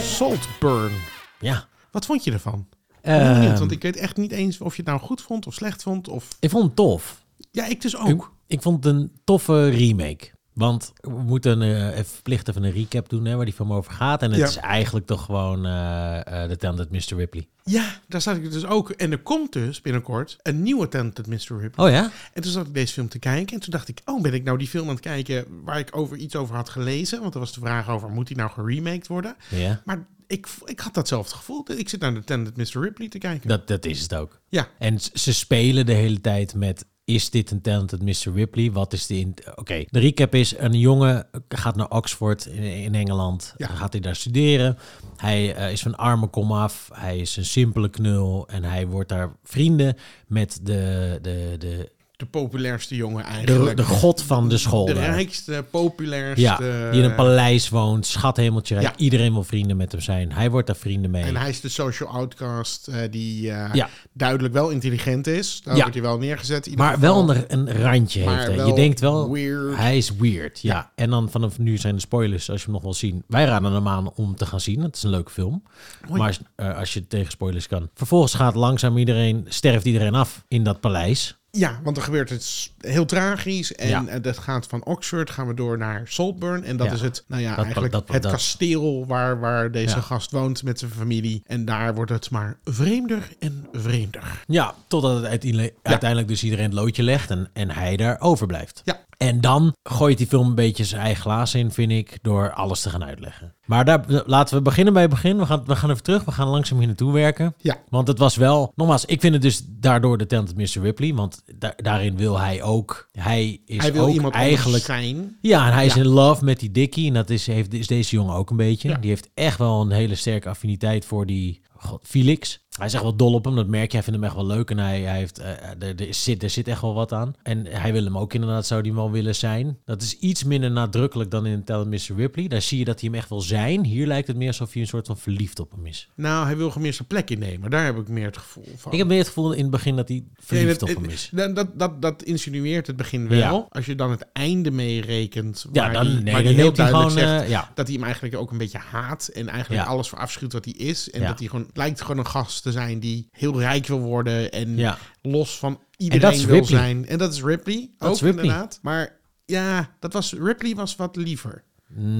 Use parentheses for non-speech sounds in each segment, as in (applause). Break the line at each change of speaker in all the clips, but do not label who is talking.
Saltburn.
Ja.
Wat vond je ervan? Ik ben
Ehm,
benieuwd, want ik weet echt niet eens of je het nou goed vond of slecht vond. Of...
ik vond het tof.
Ja, ik dus
Ik,
ook.
ik vond het een toffe remake. Want we moeten eh, even verplicht even een recap doen hè, waar die film over gaat. En het
Ja.
is eigenlijk toch gewoon eh eh The Talented Mr. Ripley.
Ja, daar zat ik dus ook. En er komt dus binnenkort een nieuwe Talented Mr. Ripley.
Oh ja?
En toen zat ik deze film te kijken en toen dacht ik, oh, ben ik nou die film aan het kijken waar ik over iets over had gelezen? Want er was de vraag over, moet die nou geremaked worden?
Ja.
Maar ik, v- ik had datzelfde gevoel. Ik zit naar de Talented Mr. Ripley te kijken.
Dat, dat is het ook.
Ja.
En s- ze spelen de hele tijd met... Is dit een talented Mr. Ripley? Wat is de... in- Oké, de recap is... Een jongen gaat naar Oxford in, in Engeland.
Ja.
Gaat hij daar studeren. Hij eh, is van arme kom af. Hij is een simpele knul. En hij wordt daar vrienden met de... de, de
De populairste jongen
de,
eigenlijk.
de god van de school.
De
daar.
rijkste, populairste. eh,
ja, die in een paleis woont, schat hemeltje rijk.
Ja.
Iedereen wil vrienden met hem zijn. Hij wordt daar vrienden mee.
En hij is de social outcast eh, die eh,
Ja.
duidelijk wel intelligent is. Daar
Ja.
wordt hij wel neergezet. in ieder
Maar wel
geval.
een, een randje
Maar
heeft hij. Je
wel
denkt wel,
weird.
hij is weird. Ja. En dan vanaf nu zijn de spoilers, als je hem nog wil zien. Wij raden hem aan om te gaan zien. Het is een leuke film. Maar als, eh, als je tegen spoilers kan. Vervolgens gaat langzaam iedereen, sterft iedereen af in dat paleis.
Ja, want er gebeurt het heel tragisch. En
Ja.
eh, dat gaat van Oxford, gaan we door naar Saltburn. En dat
Ja.
is het, nou ja,
Dat-
eigenlijk
dat- dat-
het
dat-
kasteel waar, waar deze
Ja.
gast woont met zijn familie. En daar wordt het maar vreemder en vreemder.
Ja, totdat het uiteindelijk, uiteindelijk dus iedereen het loodje legt en, en hij daar overblijft.
Ja.
En dan gooit die film een beetje zijn eigen glaas in, vind ik, door alles te gaan uitleggen. Maar daar, laten we beginnen bij het begin. We gaan, we gaan even terug, we gaan langzaam hier naartoe werken.
Ja.
Want het was wel, nogmaals, ik vind het dus daardoor de Talented Mr. Ripley, want da- daarin wil hij ook, hij is
hij wil
ook
iemand
eigenlijk...
eigenlijk zijn.
Ja, en hij is
Ja.
in love met die Dickie. En dat is, heeft, is deze jongen ook een beetje.
Ja.
Die heeft echt wel een hele sterke affiniteit voor die god, Felix. Hij is echt wel dol op hem, dat merk je. Hij vindt hem echt wel leuk en hij, hij heeft, eh, er, er, zit, er zit echt wel wat aan. En hij wil hem ook inderdaad, zou die wel willen zijn. Dat is iets minder nadrukkelijk dan in Tell Mr. Ripley. Daar zie je dat hij hem echt wil zijn. Hier lijkt het meer alsof hij een soort van verliefd op hem is.
Nou, hij wil gewoon meer zijn plek innemen. Daar heb ik meer het gevoel van.
Ik heb meer het gevoel in het begin dat hij
Nee,
verliefd
dat-
op hem is.
Dat, dat, dat, dat insinueert het begin wel.
Ja.
Als je dan het einde meerekent,
Ja,
waar
dan-
die,
nee,
waar
dan
die heel
neemt hij
duidelijk
gewoon,
zegt
eh, ja.
dat hij hem eigenlijk ook een beetje haat en eigenlijk
Ja.
alles verafschuwt wat hij is. En
Ja.
dat hij gewoon lijkt gewoon een gast te zijn die heel rijk wil worden en
Ja.
los van
dat
iedereen
is
wil
Ripley.
zijn. En dat is Ripley
Dat
ook
is Ripley.
inderdaad. Maar ja, dat was, Ripley was wat liever.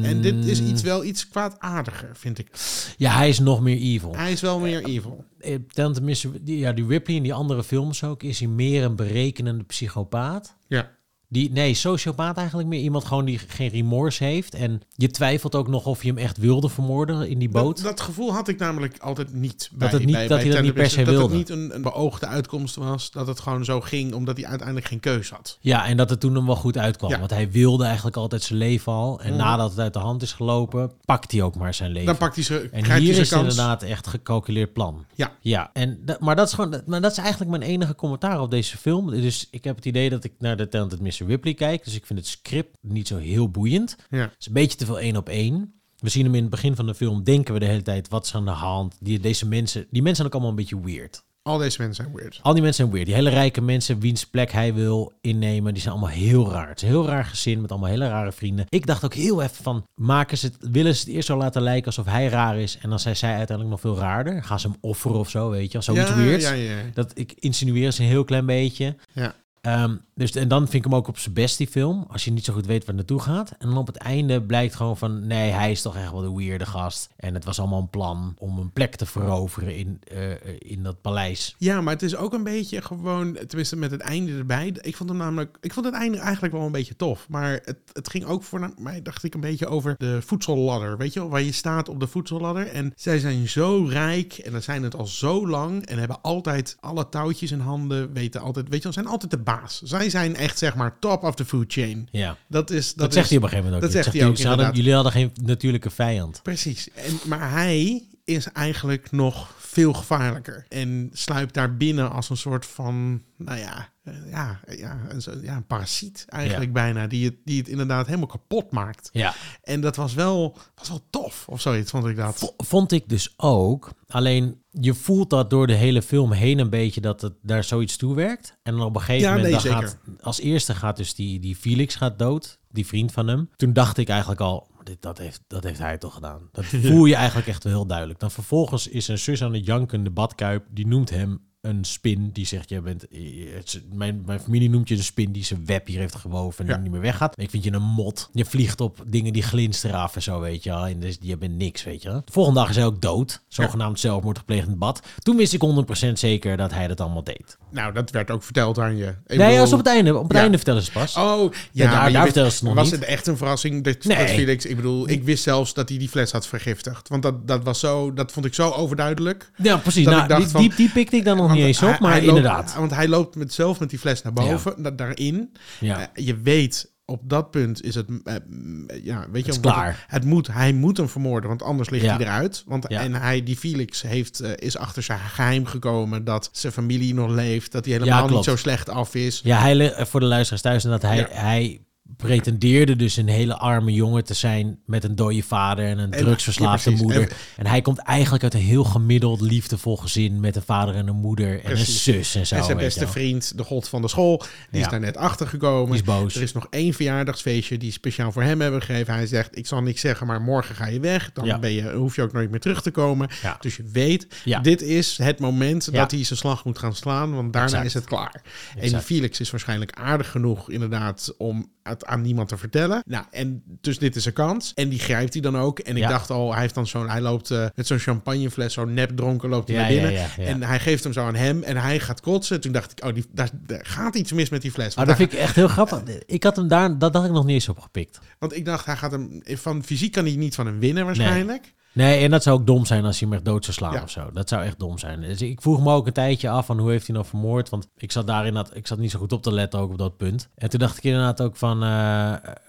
En dit is
Mm.
iets, wel iets kwaadaardiger, vind ik.
Ja, hij is nog meer evil.
Hij is wel meer evil.
Eh, Dan tenminste, die- ja, die Ripley in die andere films ook, is hij meer een berekenende psychopaat.
Ja.
Die, nee, sociopaat eigenlijk meer. Iemand gewoon die geen remorse heeft. En je twijfelt ook nog of je hem echt wilde vermoorden in die boot.
Dat, dat gevoel had ik namelijk altijd niet. Bij,
het niet-
bij,
dat
bij
hij dat niet per
Tender
se
Business.
wilde.
Dat het niet een, een beoogde uitkomst was. Dat het gewoon zo ging omdat hij uiteindelijk geen keus had.
Ja, en dat het toen hem wel goed uitkwam.
Ja.
Want hij wilde eigenlijk altijd zijn leven al. En nadat het uit de hand is gelopen, pakt hij ook maar zijn leven.
Dan pakt hij ze,
en
grijpt
hier
hij
is
zijn
het
kans.
inderdaad echt gecalculeerd plan.
Ja.
Ja, en dat, maar, dat is gewoon, dat- maar dat is eigenlijk mijn enige commentaar op deze film. Dus ik heb het idee dat ik naar de Talented Mr. Ripley kijk. Dus ik vind het script niet zo heel boeiend.
Ja.
Het is een beetje te veel één op één. We zien hem in het begin van de film, denken we de hele tijd, wat is er aan de hand? Die, deze mensen, die mensen zijn ook allemaal een beetje weird.
Al deze mensen zijn weird.
Al die mensen zijn weird. Die hele rijke mensen, wiens plek hij wil innemen, die zijn allemaal heel raar. Het is een heel raar gezin met allemaal hele rare vrienden. Ik dacht ook heel even van, maken ze het, willen ze het eerst zo laten lijken alsof hij raar is. En dan zijn zij uiteindelijk nog veel raarder. Gaan ze hem offeren of zo, weet je wel. Zoiets
ja,
weirds.
Ja, ja, ja.
Dat ik insinueer ze een heel klein beetje.
Ja.
Ehm, dus, en dan vind ik hem ook op zijn best, die film. Als je niet zo goed weet waar het naartoe gaat. En dan op het einde blijkt gewoon van... Nee, hij is toch echt wel de weirde gast. En het was allemaal een plan om een plek te veroveren in, eh, eh, in dat paleis.
Ja, maar het is ook een beetje gewoon, tenminste met het einde erbij. Ik vond hem namelijk, ik vond het einde eigenlijk wel een beetje tof. Maar het, het ging ook voor mij, dacht ik, een beetje over de voedselladder. Weet je wel, waar je staat op de voedselladder. En zij zijn zo rijk en dan zijn het al zo lang. En hebben altijd alle touwtjes in handen. Weten altijd, weet je wel, zijn altijd de baas. Zij zijn echt, zeg maar, top of the food chain.
Ja, dat,
Dat is, dat,
zegt
is-
hij op een gegeven moment ook.
dat zegt hij
hij
ook,
ze hadden-
inderdaad.
Jullie hadden geen natuurlijke vijand.
Precies. En, maar hij is eigenlijk nog veel gevaarlijker. En sluipt daar binnen als een soort van, nou ja, eh, ja, ja, een, zo- ja, een parasiet eigenlijk bijna, die het, die het inderdaad helemaal kapot maakt.
Ja.
En dat was wel, was wel tof of zoiets, vond ik dat.
V- Vond ik dus ook. Alleen je voelt dat door de hele film heen een beetje dat het daar zoiets toe werkt. En dan op een gegeven
Ja,
moment
nee,
dan gaat als eerste gaat dus die, die Felix gaat dood, die vriend van hem. Toen dacht ik eigenlijk al, dit, dat, heeft, dat heeft hij toch gedaan.
(laughs)
Dat voel je eigenlijk echt wel heel duidelijk. Dan vervolgens is een zus aan het janken, de badkuip, die noemt hem een spin. Die zegt, jij bent, eh, het is- mijn, mijn familie noemt je een spin die zijn web hier heeft gewoven en
Ja.
die niet meer weggaat. Ik vind je een mot. Je vliegt op dingen die glinsteren af en zo, weet je wel. En dus, je bent niks, weet je wel. De volgende dag is hij ook dood. Zogenaamd zelfmoord gepleegd in het bad. Toen wist ik 100% zeker dat hij dat allemaal deed.
Nou, dat werd ook verteld aan je. Ik
Nee,
bedoel-
als op het einde. Op het
Ja.
einde vertellen ze het pas.
Oh,
Ja,
ja,
daar-
maar je
daar
wist-
vertelden ze het nog
was
niet.
het echt een verrassing dat,
Nee.
dat Felix... Ik bedoel, ik wist zelfs dat hij die fles had vergiftigd. Want dat, dat, was zo, dat vond ik zo overduidelijk.
Ja, precies.
Dat
Nou,
ik dacht
die,
van-
die, die pikte ik dan nog
Want
niet eens op,
hij-
maar
hij loopt-
inderdaad.
want hij loopt met, zelf met die fles naar boven, da- daarin.
ja.
Eh, je weet, op dat punt is het... eh, mm, ja, weet je,
is
omdat
klaar.
Het, het moet, hij moet hem vermoorden, want anders ligt
Ja.
hij eruit. Want,
Ja.
En hij, die Felix heeft, eh, is achter zijn geheim gekomen... dat zijn familie nog leeft, dat hij
Ja,
helemaal niet
klopt.
zo slecht af is.
ja, hij, le- eh, voor de luisteraars thuis, dat hij,
Ja.
hij pretendeerde dus een hele arme jongen te zijn met een dode vader en een
En-
drugsverslaafde
ja, precies.
moeder. En, hij komt eigenlijk uit een heel gemiddeld liefdevol gezin met een vader en een moeder en
Precies.
een zus en zo.
en zijn
weet je
beste
wel.
vriend, de god van de school, die
Ja.
is daar net achter gekomen.
Die is boos.
Er is nog één verjaardagsfeestje die speciaal voor hem hebben gegeven. Hij zegt: Ik zal niks zeggen, maar morgen ga je weg. Dan
Ja.
ben je, hoef je ook nooit meer terug te komen.
Ja.
Dus je weet,
Ja.
dit is het moment
Ja.
dat hij zijn slag moet gaan slaan, want daarna
Exact.
is het klaar. En die
Exact.
Felix is waarschijnlijk aardig genoeg, inderdaad, om het aan niemand te vertellen. Nou, en dus dit is een kans. En die grijpt hij dan ook. En ik
Ja.
dacht al, hij heeft dan zo'n, hij loopt eh, met zo'n champagnefles, zo nep dronken, loopt hij
Ja,
naar binnen.
ja, ja, ja.
En hij geeft hem zo aan hem en hij gaat kotsen. Toen dacht ik, oh, die, daar, daar gaat iets mis met die fles.
Maar
Want
Ah, dat
hij-
vind ik echt heel grappig. Ik had hem daar, dat had ik nog niet eens opgepikt.
want ik dacht, hij gaat hem, van fysiek kan hij niet van hem winnen waarschijnlijk.
Nee, en dat zou ook dom zijn als hij hem echt dood zou slaan
Ja.
of zo. Dat zou echt dom zijn. Dus ik vroeg me ook een tijdje af van hoe heeft hij nou vermoord? Want ik zat daarin, dat, ik zat niet zo goed op te letten ook op dat punt. En toen dacht ik inderdaad ook van... eh,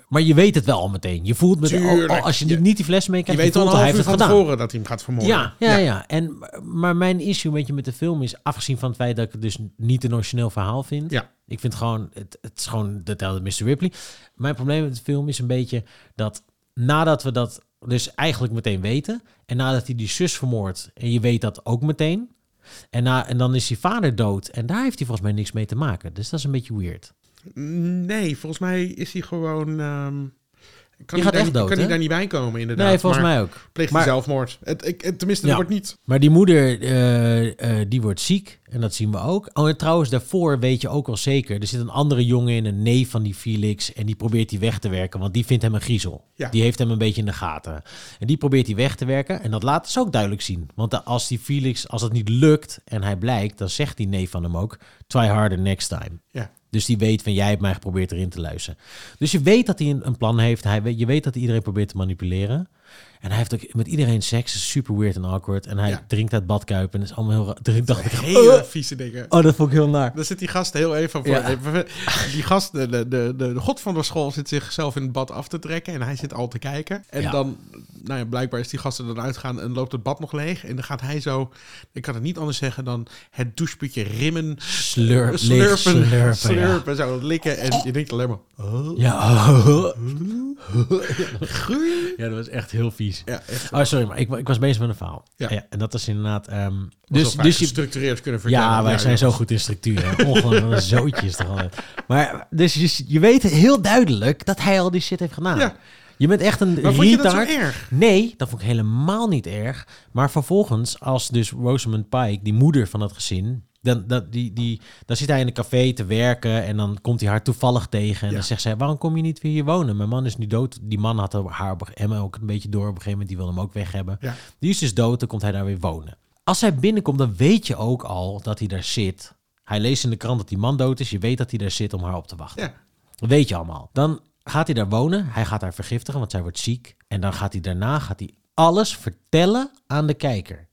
maar je weet het wel al meteen. Je voelt met, al-
Tuurlijk.
al- als je niet,
Je-
niet die fles
Je
meekrijgt, je,
weet al
voelt
een
al, hij
half
heeft
uur
het
van tevoren
gedaan.
dat hij hem gaat vermoorden.
Ja, ja, ja, En, maar mijn issue met je met de film is, afgezien van het feit dat ik het dus niet een origineel verhaal vind.
Ja.
Ik vind gewoon, het, het is gewoon de telde Mr. Ripley. Mijn probleem met de film is een beetje dat nadat we dat dus eigenlijk meteen weten. En nadat hij die zus vermoordt en je weet dat ook meteen. En, na, en dan is die vader dood. En daar heeft hij volgens mij niks mee te maken. Dus dat is een beetje weird.
Nee, volgens mij is hij gewoon... ehm, kan
gaat
hij daar,
echt
niet-
dood,
Kan hij
hè?
daar niet bij komen, inderdaad.
nee, volgens
maar
mij ook.
pleegt
Maar-
hij zelfmoord. Het, ik, het- tenminste,
Ja.
er wordt niet...
Maar die moeder, eh, eh, die wordt ziek. En dat zien we ook. Oh, en trouwens, daarvoor weet je ook wel zeker. Er zit een andere jongen in, een neef van die Felix. En die probeert die weg te werken, want die vindt hem een griezel.
Ja.
Die heeft hem een beetje in de gaten. En die probeert die weg te werken. En dat laten ze ook duidelijk zien. Want da- als die Felix, als dat niet lukt en hij blijkt, dan zegt die neef van hem ook: try harder next time.
Ja.
Dus die weet van jij hebt mij geprobeerd erin te luisteren. Dus je weet dat hij een, een plan heeft. Hij, weet- je weet dat hij iedereen probeert te manipuleren. En hij heeft ook met iedereen seks. Is super weird en awkward. En hij
Ja.
drinkt uit badkuip. En dat is allemaal heel raar. (laughs) Toen ik dacht ik,
Hele
"Oh."
vieze dingen.
(laughs) oh, dat vond ik heel naar.
Daar zit die gast heel even voor.
Ja.
even- Die gast, de, de, de, de de god van de school, zit zichzelf in het bad af te trekken. En hij zit al te kijken. En
Ja.
dan, nou ja, blijkbaar is die gast er dan uitgaan en loopt het bad nog leeg. En dan gaat hij zo, ik kan het niet anders zeggen dan het doucheputje rimmen.
Slurp, leeg
slurpen,
slurpen, ja.
slurpen, zo likken. En je denkt alleen maar, oh,
Ja. (laughs)
groei.
ja, dat was echt heel vies.
Ja, echt.
Oh, sorry, maar ik, wa- ik was bezig met een verhaal.
Ja.
en dat is inderdaad... ehm,
Dus,
dus dus je,
gestructureerd kunnen vertellen.
Ja, wij zijn
joh.
zo goed in structuur. hè. Ongelooflijk, wat een zootje is toch altijd. Maar dus je, je weet heel duidelijk dat hij al die shit heeft gedaan.
Ja.
Je bent echt een
Maar
retard.
vond je dat zo erg?
Nee, dat vond ik helemaal niet erg. Maar vervolgens, als dus Rosamund Pike, die moeder van dat gezin... Dan, dat, die, die, dan zit hij in een café te werken en dan komt hij haar toevallig tegen. En
Ja.
dan zegt zij, waarom kom je niet weer hier wonen? Mijn man is nu dood. Die man had haar op- hem ook een beetje door op een gegeven moment. Die wilde hem ook weg hebben.
Ja.
Die is dus dood, dan komt hij daar weer wonen. Als hij binnenkomt, dan weet je ook al dat hij daar zit. Hij leest in de krant dat die man dood is. Je weet dat hij daar zit om haar op te wachten.
Ja.
Dat weet je allemaal. Dan gaat hij daar wonen. Hij gaat haar vergiftigen, want zij wordt ziek. En dan gaat hij daarna gaat hij alles vertellen aan de kijker.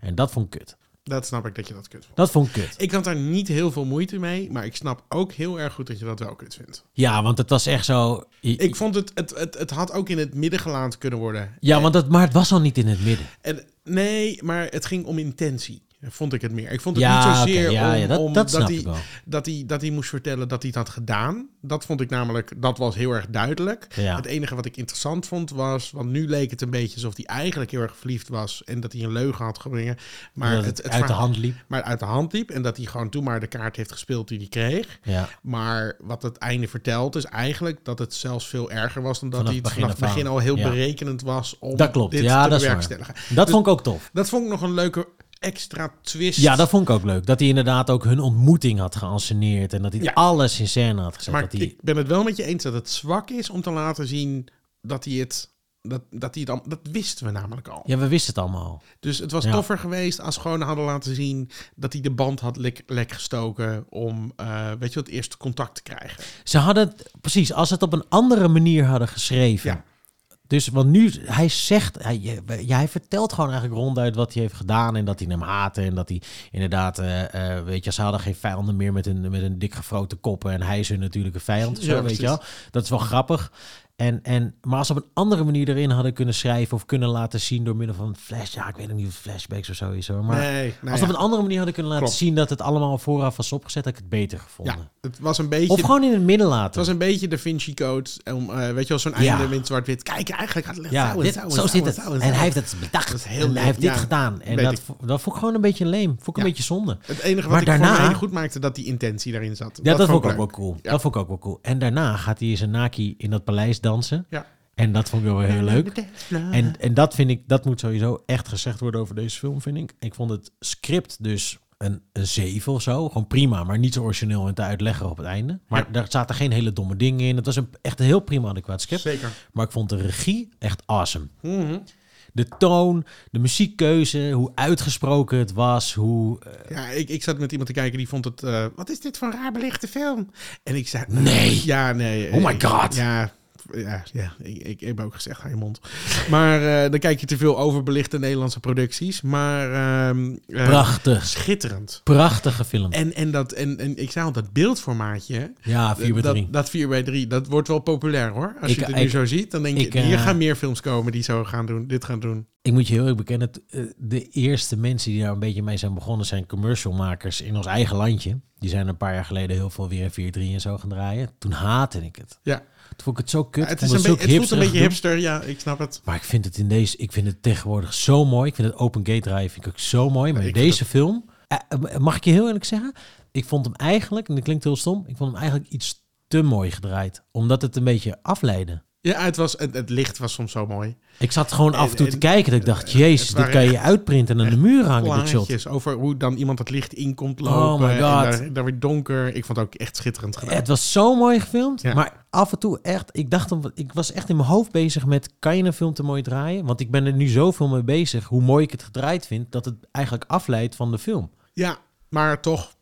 En dat vond ik kut.
Dat snap ik dat je dat kunt.
Dat vond ik kut.
Ik had daar niet heel veel moeite mee, maar ik snap ook heel erg goed dat je dat wel kunt vindt.
Ja, want het was echt zo...
Ik vond het, het, het, het had ook in het midden gelaten kunnen worden.
Ja, want dat, maar het was al niet in het midden.
En, nee, maar het ging om intentie. Vond ik het meer. Ik vond het
Ja,
niet
oké,
zozeer
ja,
om,
ja, dat,
om
dat snap
hij
ik wel.
dat hij, dat hij moest vertellen dat hij het had gedaan. Dat vond ik namelijk, dat was heel erg duidelijk.
Ja.
Het enige wat ik interessant vond was, want nu leek het een beetje alsof hij eigenlijk heel erg verliefd was en dat hij een leugen had gebrengen. Maar
dat
het,
het,
het
uit de
verhaal-
hand liep.
Maar uit de hand liep en dat hij gewoon toen maar de kaart heeft gespeeld die hij kreeg.
Ja.
Maar wat het einde vertelt is eigenlijk dat het zelfs veel erger was dan dat
Vanaf
hij het
begin
vanaf het
af aan.
begin al heel
Ja.
berekenend was om
Dat klopt.
dit
Ja,
te
dat is waar.
bewerkstelligen.
Dat vond ik ook tof.
Dat vond ik nog een leuke extra twist.
Ja, dat vond ik ook leuk. Dat hij inderdaad ook hun ontmoeting had geanceneerd. En dat hij
Ja.
alles in scène had gezet.
Maar
dat hij,
ik ben het wel met je eens dat het zwak is om te laten zien dat hij het. Dat, dat, hij het al, dat wisten we namelijk al.
Ja, we wisten het allemaal.
Dus het was
Ja.
toffer geweest als ze gewoon hadden laten zien dat hij de band had lek, lek gestoken om, eh, weet je wat, eerst contact te krijgen.
Ze hadden het, precies, als ze het op een andere manier hadden geschreven.
Ja.
Dus, want nu, hij zegt, hij, ja, hij vertelt gewoon eigenlijk ronduit wat hij heeft gedaan. En dat hij hem haatte. En dat hij inderdaad, eh, eh, weet je, ze hadden geen vijanden meer met een, met een dik gefroten kop. En hij is hun natuurlijke vijand. of Zo,
(laughs) Ja,
weet
precies.
je wel. Dat is wel grappig. En, en, maar als ze op een andere manier erin hadden kunnen schrijven. Of kunnen laten zien door middel van flash. Ja, ik weet niet of het flashbacks of zo is hoor. Maar
nee, nou
als ze
ja.
op een andere manier hadden kunnen laten
Klopt.
zien dat het allemaal vooraf was opgezet, had ik het beter gevonden.
ja, het was een beetje.
Of gewoon in het midden laten.
het was een beetje de Vinci Code. Om, eh, weet je wel, zo'n
Ja.
einde in zwart-wit. Kijk, eigenlijk had het
Ja,
touwen,
dit-
touwen,
zo zit
touwen,
het.
touwen,
En hij
touwen.
heeft het bedacht.
Dat is heel
en
leuk,
hij heeft dit
ja.
gedaan. En
Weet
dat,
ik.
vo- dat vond ik gewoon een beetje leem. Vond ik
Ja.
een beetje zonde.
Het enige wat
Maar
ik
daarna-
daarna, vond goed maakte, dat die intentie daarin zat.
Ja, dat, vond ik ook
leuk.
wel cool.
Ja.
Dat vond ik ook wel cool. En daarna gaat hij zijn Naki in dat paleis dansen.
Ja.
En dat vond ik wel weer heel leuk. En, en dat vind ik, dat moet sowieso echt gezegd worden over deze film, vind ik. Ik vond het script dus een, een 7 of zo. Gewoon prima, maar niet zo origineel en te uitleggen op het einde. Maar
Ja.
daar zaten geen hele domme dingen in. Het was een, echt een heel prima adequaat script.
Zeker.
Maar ik vond de regie echt awesome.
Mhm.
De toon, de muziekkeuze, hoe uitgesproken het was, hoe... eh,
Ja, ik, ik zat met iemand te kijken die vond het. eh, wat is dit voor een raar belichte film? En ik zei.
Nee.
Ja, nee.
Oh my
ik-
God.
Ja. Ja, ja ik, ik heb ook gezegd, hou je mond. Maar eh, dan kijk je te veel over belichte Nederlandse producties. Maar ehm, eh,
prachtig,
schitterend.
prachtige film.
En, en, dat, en, en ik zei al, dat beeldformaatje.
Ja, 4 bij 3.
Dat, dat 4 bij 3 dat wordt wel populair hoor. Als
Ik-
je het nu
ik-
zo ziet, dan denk je,
ik, eh,
hier gaan meer films komen die zo gaan doen, dit gaan doen.
Ik moet je heel erg bekennen, t- eh, de eerste mensen die daar een beetje mee zijn begonnen zijn commercialmakers in ons eigen landje. Die zijn een paar jaar geleden heel veel weer in 4 en zo gaan draaien. Toen haatte ik het.
Ja,
Toen vond ik het zo kut.
het,
Ik
is
vond
een
het
be-
zulk
het voelt een beetje
hipsterig gedoe.
hipster, ja, ik snap het.
Maar ik vind het in deze, ik vind het tegenwoordig zo mooi. Ik vind het Open Gate Drive vind ik ook zo mooi. Maar
ik vind
deze film, eh, eh, mag ik je heel eerlijk zeggen, ik vond hem eigenlijk, en dat klinkt heel stom, ik vond hem eigenlijk iets te mooi gedraaid, omdat het een beetje afleidde.
Ja, het, was, het, het licht was soms zo mooi.
Ik zat gewoon af en toe
en- eh,
te kijken dat ik dacht, jezus, dit
waren
kan je uitprinten en aan de muur hangen, dit shot.
plaatjes over hoe dan iemand het licht in komt
Oh
lopen.
my
en
God. Eh.
daar, daar weer donker. Ik vond het ook echt schitterend gedaan.
Het was zo mooi gefilmd,
Ja.
maar af en toe echt, ik dacht, dan- ik was echt in mijn hoofd bezig met, kan je een film te mooi draaien? Want ik ben er nu zoveel mee bezig, hoe mooi ik het gedraaid vind, dat het eigenlijk afleidt van de film.
Ja, maar toch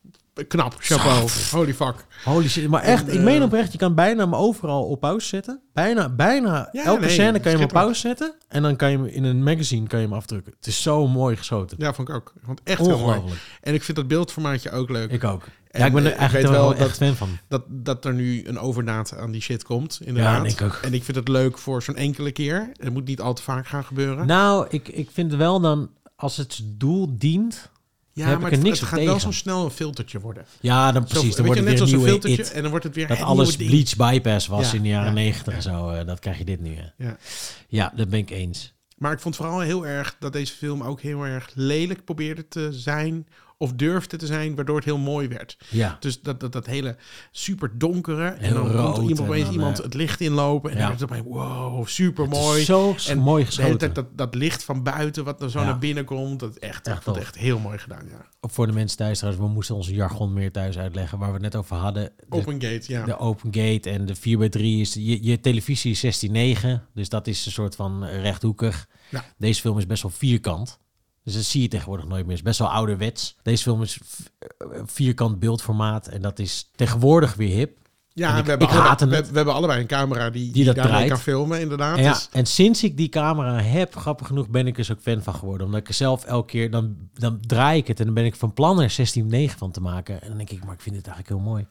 knap. Chapeau. Holy fuck.
Holy shit, maar echt,
En,
ik meen
eh,
oprecht, je kan bijna hem overal op pauze zetten. Bijna, bijna
Ja,
elke
nee,
scène kan je hem op
schitterend.
pauze zetten. En dan kan je hem in een magazine kan je hem afdrukken. Het is zo mooi geschoten.
Ja, vond ik ook. Ik vond het echt heel mooi.
Ongelooflijk.
En ik vind dat beeldformaatje ook leuk.
Ik ook.
En,
ja, ik ben
eh,
er
ik
eigenlijk
weet
wel
wel
echt fan van.
Dat, dat er nu een overdaad aan die shit komt, inderdaad.
Ja, ik ook.
En ik vind het leuk voor zo'n enkele keer. Het moet niet al te vaak gaan gebeuren.
Nou, ik, ik vind wel dan, als het doel dient...
ja,
daar heb
maar
ik er
het,
niks
het
op
gaat wel zo
tegen.
snel een filtertje worden.
Ja, dan
Zo,
precies.
weet
Dan wordt
je,
het weer
net
een
als een
nieuwe
filtertje.
It.
En dan wordt het weer
Dat
het
alles
nieuwe ding.
Bleach Bypass was
Ja,
in de jaren
ja,
negentig
ja.
en zo. eh, dat krijg je dit nu. hè.
Ja.
Ja, dat ben ik eens.
Maar ik vond vooral heel erg dat deze film ook heel erg lelijk probeerde te zijn. Of durfde te zijn, waardoor het heel mooi werd.
Ja.
Dus dat, dat, dat hele super donkere. En
Heel
dan
rood
komt er iemand,
en
opeens
dan,
iemand
eh,
het licht inlopen. En
ja.
dan is het opeens, wow, super
Het is
mooi.
Zo
En
mooi
De hele
geschoten.
tijd dat, dat licht van buiten wat er zo
Ja.
naar binnen komt. Dat echt,
Echt
ik vond het
tof.
echt heel mooi gedaan, ja.
voor de mensen thuis trouwens, we moesten onze jargon meer thuis uitleggen. Waar we het net over hadden. De,
Open Gate, ja.
de open gate en de 4x3 is... Je, je televisie is 16-9. Dus dat is een soort van rechthoekig.
Ja.
Deze film is best wel vierkant. Dus dat zie je tegenwoordig nooit meer. Het is best wel ouderwets. Deze film is v- eh, vierkant beeldformaat. En dat is tegenwoordig weer hip.
Ja,
en ik-
we, hebben
ik
alle-
haatte
we,
het.
we hebben allebei een camera die, die,
dat
daarmee
draait.
kan filmen, inderdaad.
En, ja,
Dus
en sinds ik die camera heb, grappig genoeg, ben ik dus ook fan van geworden. Omdat ik er zelf elke keer, dan, dan draai ik het en dan ben ik van plan er 16-9 van te maken. En dan denk ik, maar ik vind het eigenlijk heel mooi.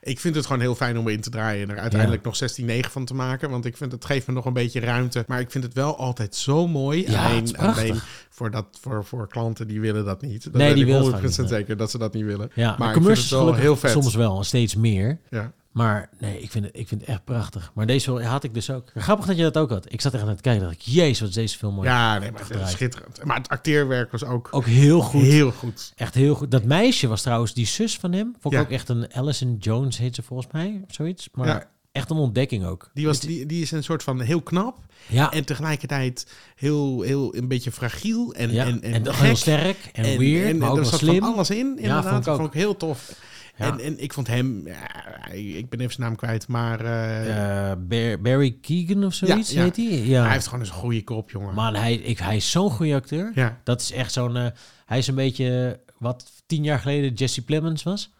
Ik vind het gewoon heel fijn om in te draaien en er uiteindelijk nog 16-9 van te maken. Want ik vind het geeft me nog een beetje ruimte. Maar ik vind het wel altijd zo mooi.
Ja, het is
alleen,
prachtig.
alleen voor, dat, voor, voor klanten die willen dat niet. Dat
Nee,
ben
die
ik
willen het
100%
gewoon niet, nee.
zeker dat ze dat niet willen.
Ja, maar,
ik vind
commercials
het wel
gelukkig
heel vet.
soms wel, steeds meer.
Ja.
Maar nee, ik vind het, ik vind het echt prachtig. Maar deze film had ik dus ook. Grappig dat je dat ook had. Ik zat echt aan het kijken dacht ik, jezus, wat is deze film mooi.
ja, nee, maar het is
Gedraaid.
schitterend. Maar het acteerwerk was ook,
Ook heel goed.
heel goed.
Echt heel goed. Dat meisje was trouwens die zus van hem. Vond ik
Ja.
ook echt een Alison Jones heet ze volgens mij. of Zoiets. Maar
Ja.
echt een ontdekking ook.
Die, was, die, die is een soort van heel knap
Ja, en,
en tegelijkertijd heel, heel een beetje fragiel en,
ja.
en,
en,
en,
toch
gek.
heel sterk en, weird, maar ook
er
wel
zat
slim.
van alles in, inderdaad.
vond ik
dat
ook.
vond ik heel tof.
Ja.
En, en ik vond hem, ja, ik ben even zijn naam kwijt, maar eh,
Eh, Bar- Barry Keegan of zoiets
ja.
heet hij. Ja.
hij heeft gewoon eens een goede kop, jongen.
Man, hij, ik, hij is zo'n goede acteur.
ja.
Dat is echt zo'n... eh, hij is een beetje wat tien jaar geleden Jesse Plemons was.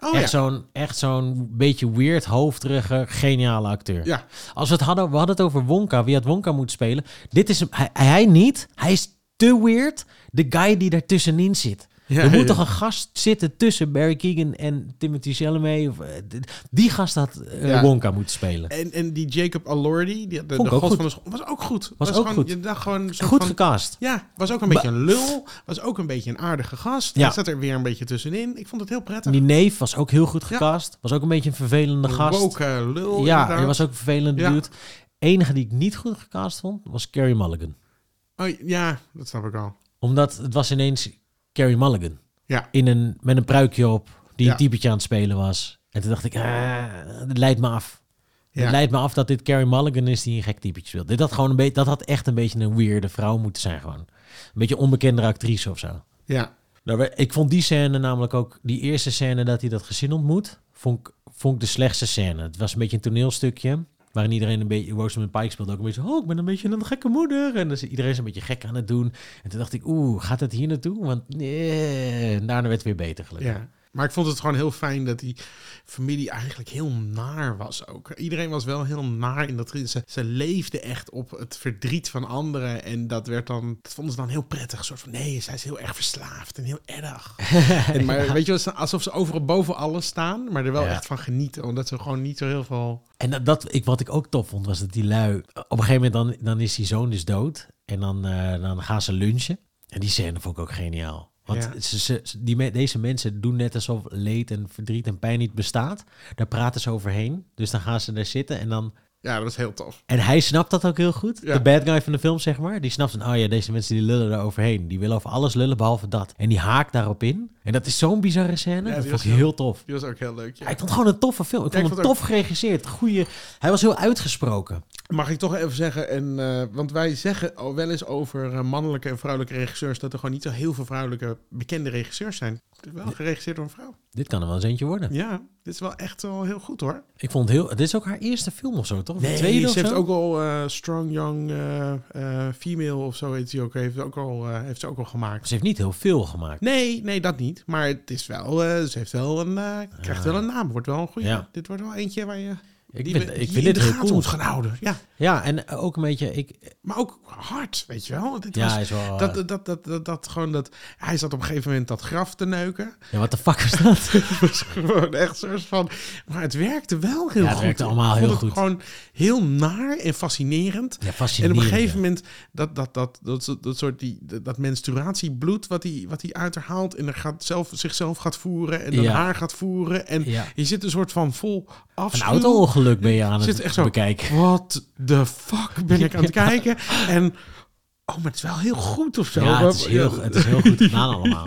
Oh ja.
echt zo'n echt zo'n beetje weird, hoofdrige, geniale acteur.
Ja.
Als we het hadden, we hadden het over Wonka. Wie had Wonka moeten spelen? Dit is hem. Hij, hij niet. Hij is te weird. De guy die daartussenin zit.
Ja,
er moet
ja.
toch een gast zitten tussen Barry Keegan en Timothy Chalamet. Of, eh, d- die gast had eh,
Ja.
Wonka moeten spelen.
En, en die Jacob Alordi, die, de,
Vond
de
ik ook
god
goed.
van de school, was ook goed.
Was ook
gewoon,
goed.
Je dacht gewoon een soort
Goed
Eh, van-
gecast.
ja, was ook een beetje een lul. Was ook een beetje een aardige gast.
Ja.
Hij zat er weer een beetje tussenin. Ik vond het heel prettig.
Die neef was ook heel goed
Ja.
gecast. Was ook een beetje een vervelende
Een
gast.
woke eh, lul.
ja,
inderdaad.
hij was ook een vervelende
Ja.
dude. Enige die ik niet goed gecast vond, was Carey Mulligan.
Oh, ja, dat snap ik al.
Omdat het was ineens Carey Mulligan.
Ja.
In een, met een pruikje op, die
Ja.
een typetje aan het spelen was. En toen dacht ik, ah, het leidt me af.
Ja.
Het leidt me af dat dit Carey Mulligan is die een gek typetje speelt. Dit had gewoon een beetje, dat had echt een beetje een weirde vrouw moeten zijn gewoon. Een beetje onbekendere actrice of zo.
Ja.
Nou, we- ik vond die scène namelijk ook, die eerste scène dat hij dat gezin ontmoet, vond ik, vond ik de slechtste scène. Het was een beetje een toneelstukje. Waarin iedereen een beetje, Rosamund Pike speelde ook een beetje, oh, ik ben een beetje een gekke moeder. En dan is iedereen is een beetje gek aan het doen. En toen dacht ik, oeh, gaat het hier naartoe? Want nee. En daarna werd het weer beter gelukkig.
Ja. Maar ik vond het gewoon heel fijn dat die familie eigenlijk heel naar was ook. Iedereen was wel heel naar in dat ze, ze leefden echt op het verdriet van anderen. En dat werd dan, dat vonden ze dan heel prettig. Een soort van nee, zij is heel erg verslaafd en heel erg. En maar weet je, wel, ze- alsof ze overal boven alles staan, maar er wel
Ja.
echt van genieten. Omdat ze gewoon niet zo heel veel.
En dat, dat, ik, wat ik ook tof vond, was dat die lui... Op een gegeven moment dan, dan is die zoon dus dood. En dan, eh, dan gaan ze lunchen. En die scène vond ik ook geniaal. Want
Ja.
ze, ze- ze- die, me- deze mensen doen net alsof leed en verdriet en pijn niet bestaat. Daar praten ze overheen. Dus dan gaan ze daar zitten en dan...
Ja, dat was heel tof.
En hij snapt dat ook heel goed.
Ja.
De bad guy van de film, zeg maar. Die snapt van, oh ja, deze mensen die lullen daar overheen. Die willen over alles lullen, behalve dat. En die haakt daarop in. En dat is zo'n bizarre scène.
Ja, die
dat vond ik
was heel-
heel tof.
Die was ook heel leuk.
Ja,
Ja.
ik vond het gewoon een toffe film. Ik
Ja, ik
vond het
vond het
tof geregisseerd. Goeie... Hij was heel uitgesproken.
Mag ik toch even zeggen, en, eh, want wij zeggen al wel eens over eh, mannelijke en vrouwelijke regisseurs dat er gewoon niet zo heel veel vrouwelijke bekende regisseurs zijn. Het is wel geregisseerd door een vrouw.
Dit kan er wel eens eentje worden.
Ja, dit is wel echt wel heel goed hoor.
Ik vond het heel... Dit is ook haar eerste film of zo, toch? Of de tweede
ze
of
heeft
zo?
ook al eh, Strong Young eh, eh, Female of zo heet ze ook, heeft, ze ook al, eh, heeft ze ook al gemaakt.
Ze heeft niet heel veel gemaakt.
Nee, nee, dat niet. Maar het is wel, eh, ze heeft wel een, eh, krijgt wel een naam. Wordt wel een goede.
Ah. Ja.
Dit wordt wel eentje waar je
Ik
die
vind,
we-
ik
die
vind
in
dit
de
heel
gaten
cool.
moet gaan houden. Ja,
Ja, en ook een beetje... Ik,
maar ook hard, weet je wel. Dit
ja,
was-
hij is wel... eh,
dat, dat, dat, dat, dat gewoon dat hij zat op een gegeven moment dat graf te neuken. (laughs)
ja, wat de fuck is dat?
Het was gewoon echt soort van. Maar het werkte wel heel
Ja, het
goed.
werkte
Ik
allemaal
vond
heel
het
goed.
Gewoon heel naar en fascinerend.
ja,
En op
fascinerend.
een gegeven
ja.
moment dat, dat, dat, dat, dat, soort die, dat, dat menstruatiebloed wat hij wat die uit haar haalt en er gaat zelf, zichzelf gaat voeren en dan
Ja.
haar gaat voeren. En
Ja.
je zit een soort van vol
Een
afschuw.
auto-ongeluk ben je aan
Zit
het
echt zo-
bekijken.
Wat de fuck ben ik aan het
(laughs) Ja.
kijken? En oh, maar het is wel heel goed of zo.
Ja, het is
Ja,
heel, het is heel goed
(laughs)
gedaan allemaal.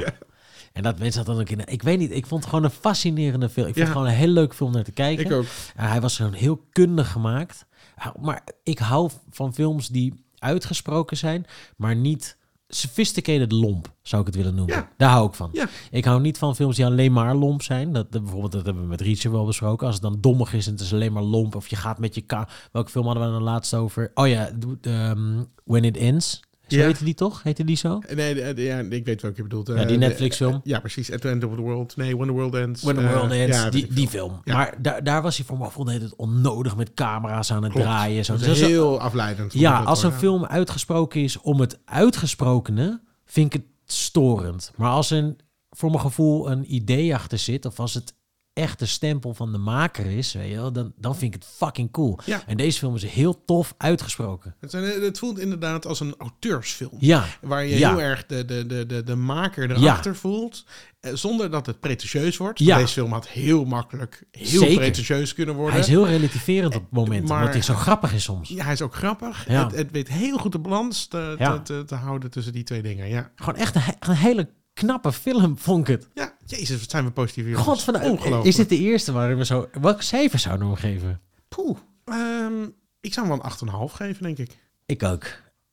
En dat mensen dat dan ook in... Ik weet niet, ik vond het gewoon een fascinerende film. Ik vond
Ja.
het gewoon een heel leuk film om naar te kijken.
Ik ook.
Ja, Eh, hij was gewoon heel kundig gemaakt. Ja, Maar ik hou van films die uitgesproken zijn, maar niet sophisticated lomp, zou ik het willen noemen.
Ja.
Daar hou ik van.
Ja.
Ik hou niet van films die alleen maar lomp zijn. Dat, dat- bijvoorbeeld, dat hebben we met Reacher wel besproken. Als het dan dommig is en het is alleen maar lomp. Of je gaat met je ka. Welke film hadden we dan laatst over? Oh ja, d- ehm, When It Ends. Zo
Ja.
heette die toch? Heette die zo?
Nee, de- de- eh, ja, ik weet welke je bedoelt.
Ja,
Eh,
die
de-
Netflix-film.
Ja, precies. At the End of the World. Nee, When the World Ends.
When the
Eh,
World Ends,
ja, weet
die,
ik
die
veel.
film.
Ja.
Maar daar, daar was hij voor me voldeed het onnodig met camera's aan het
Klopt.
draaien. Zo.
Dat
Dus
is
dat-
heel afleidend. vond ik
Ja,
dat
als
hoor.
een film uitgesproken is om het uitgesprokene, vind ik het storend. Maar als er voor mijn gevoel een idee achter zit, of als het echt de stempel van de maker is, weet je wel, dan, dan vind ik het fucking cool.
Ja.
En deze film is heel tof uitgesproken.
Het, zijn- eh, het voelt inderdaad als een auteursfilm.
Ja.
Waar je
Ja.
heel erg de, de, de, de, de maker erachter voelt. eh, Zonder dat het pretentieus wordt.
Ja.
Deze film had heel makkelijk heel
Zeker.
pretentieus kunnen worden.
Hij is heel relativerend op momenten,
maar-
omdat hij zo grappig is soms.
Ja, hij is ook grappig.
Ja.
Het, het weet heel goed de balans te, te-
Ja.
te, te houden tussen die twee dingen. Ja,
Gewoon echt een, he- een hele knappe film, vond ik het.
ja. jezus, wat zijn we positief hier.
God, van,
Ongelooflijk.
is dit de eerste waarin we zo... Welk cijfer zouden we hem geven?
Poeh. Ehm, ik zou hem wel een 8,5 geven, denk ik.
Ik ook.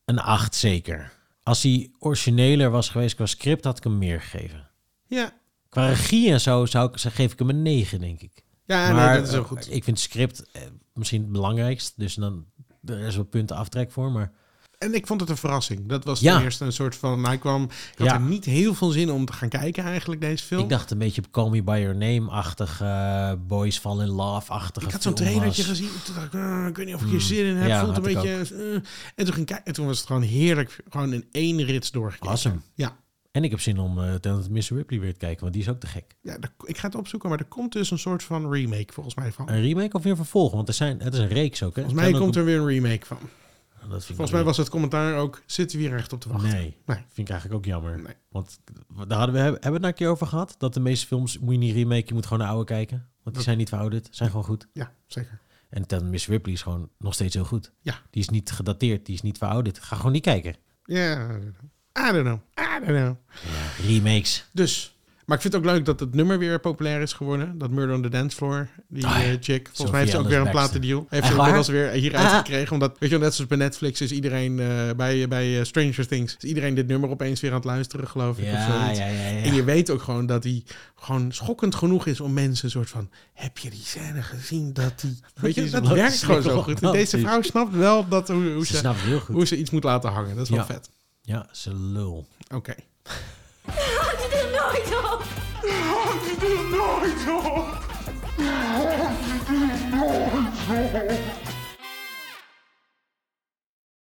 Een 8 zeker. Als hij origineler was geweest qua script, had ik hem meer gegeven.
Ja,
Qua regie en zo, zou ik, geef ik hem een 9, denk ik.
ja nee, dat is heel
eh,
goed.
ik vind script eh, misschien het belangrijkst. Dus dan, er is wel punten aftrek voor. Maar
En ik vond het een verrassing. Dat was
Ja.
ten eerste een soort van... Hij kwam, ik had
Ja.
er niet heel veel zin om te gaan kijken eigenlijk, deze film.
ik dacht een beetje op Call Me By Your Name-achtig, eh, Boys Fall In Love-achtig.
Ik had zo'n trailertje gezien. Toen dacht ik, eh, ik weet niet of ik hier zin in heb.
Hmm. Ja,
Voelt een
had ik
beetje... eh, en, toen ging ik kijken, en toen was het gewoon heerlijk. Gewoon in één rits doorgekeken.
Was hem.
Ja.
En ik heb zin om eh Talented Mr. Ripley weer te kijken, want die is ook te gek.
ja daar- ik ga het opzoeken, maar er komt dus een soort van remake volgens mij van.
Een remake of weer vervolg? Want er zijn, het is een reeks Eh, ook, hè?
Volgens mij komt er weer een remake van.
Dat vind
Volgens
ik
mij was het commentaar ook... Zitten we hier echt op te wachten?
Nee,
Nee.
vind ik eigenlijk ook jammer.
Nee.
Want daar hadden we, hebben we het daar een keer over gehad. Dat de meeste films moet je niet remake, je moet gewoon naar oude kijken. Want die zijn niet verouderd, zijn gewoon goed.
Ja, zeker.
En Tell Miss Ripley is gewoon nog steeds heel goed.
Ja.
Die is niet gedateerd, die is niet verouderd. Ga gewoon niet kijken.
Ja, I don't know. I don't know.
Remakes.
Dus. Maar ik vind het ook leuk dat het nummer weer populair is geworden. Dat Murder on the Dance Floor, die
Ah, ja.
eh, chick. Volgens
Sophia
mij heeft ze ook weer een
Ellis-Bextor.
platendeal. Heeft
Echt
ze
waar?
inmiddels weer hieruit
Ah.
gekregen. Omdat, weet je wel, net zoals bij Netflix is iedereen... eh, bij, bij eh, Stranger Things is iedereen dit nummer opeens weer aan het luisteren, geloof ik. of
Ja,
zoiets.
ja, ja.
En
ja.
je weet ook gewoon dat hij gewoon schokkend genoeg is om mensen een soort van... Heb je die scène gezien dat
(laughs)
die... Weet je,
is
dat
wel
werkt gewoon zo goed. En deze
romantisch.
vrouw snapt wel dat, hoe, hoe,
Ze
ze,
snapt het heel goed.
hoe ze iets moet laten hangen. Dat is wel
Ja.
vet.
Ja, ze lul.
Oké.
Houd het er nooit op!
Nooit op! Nooit op!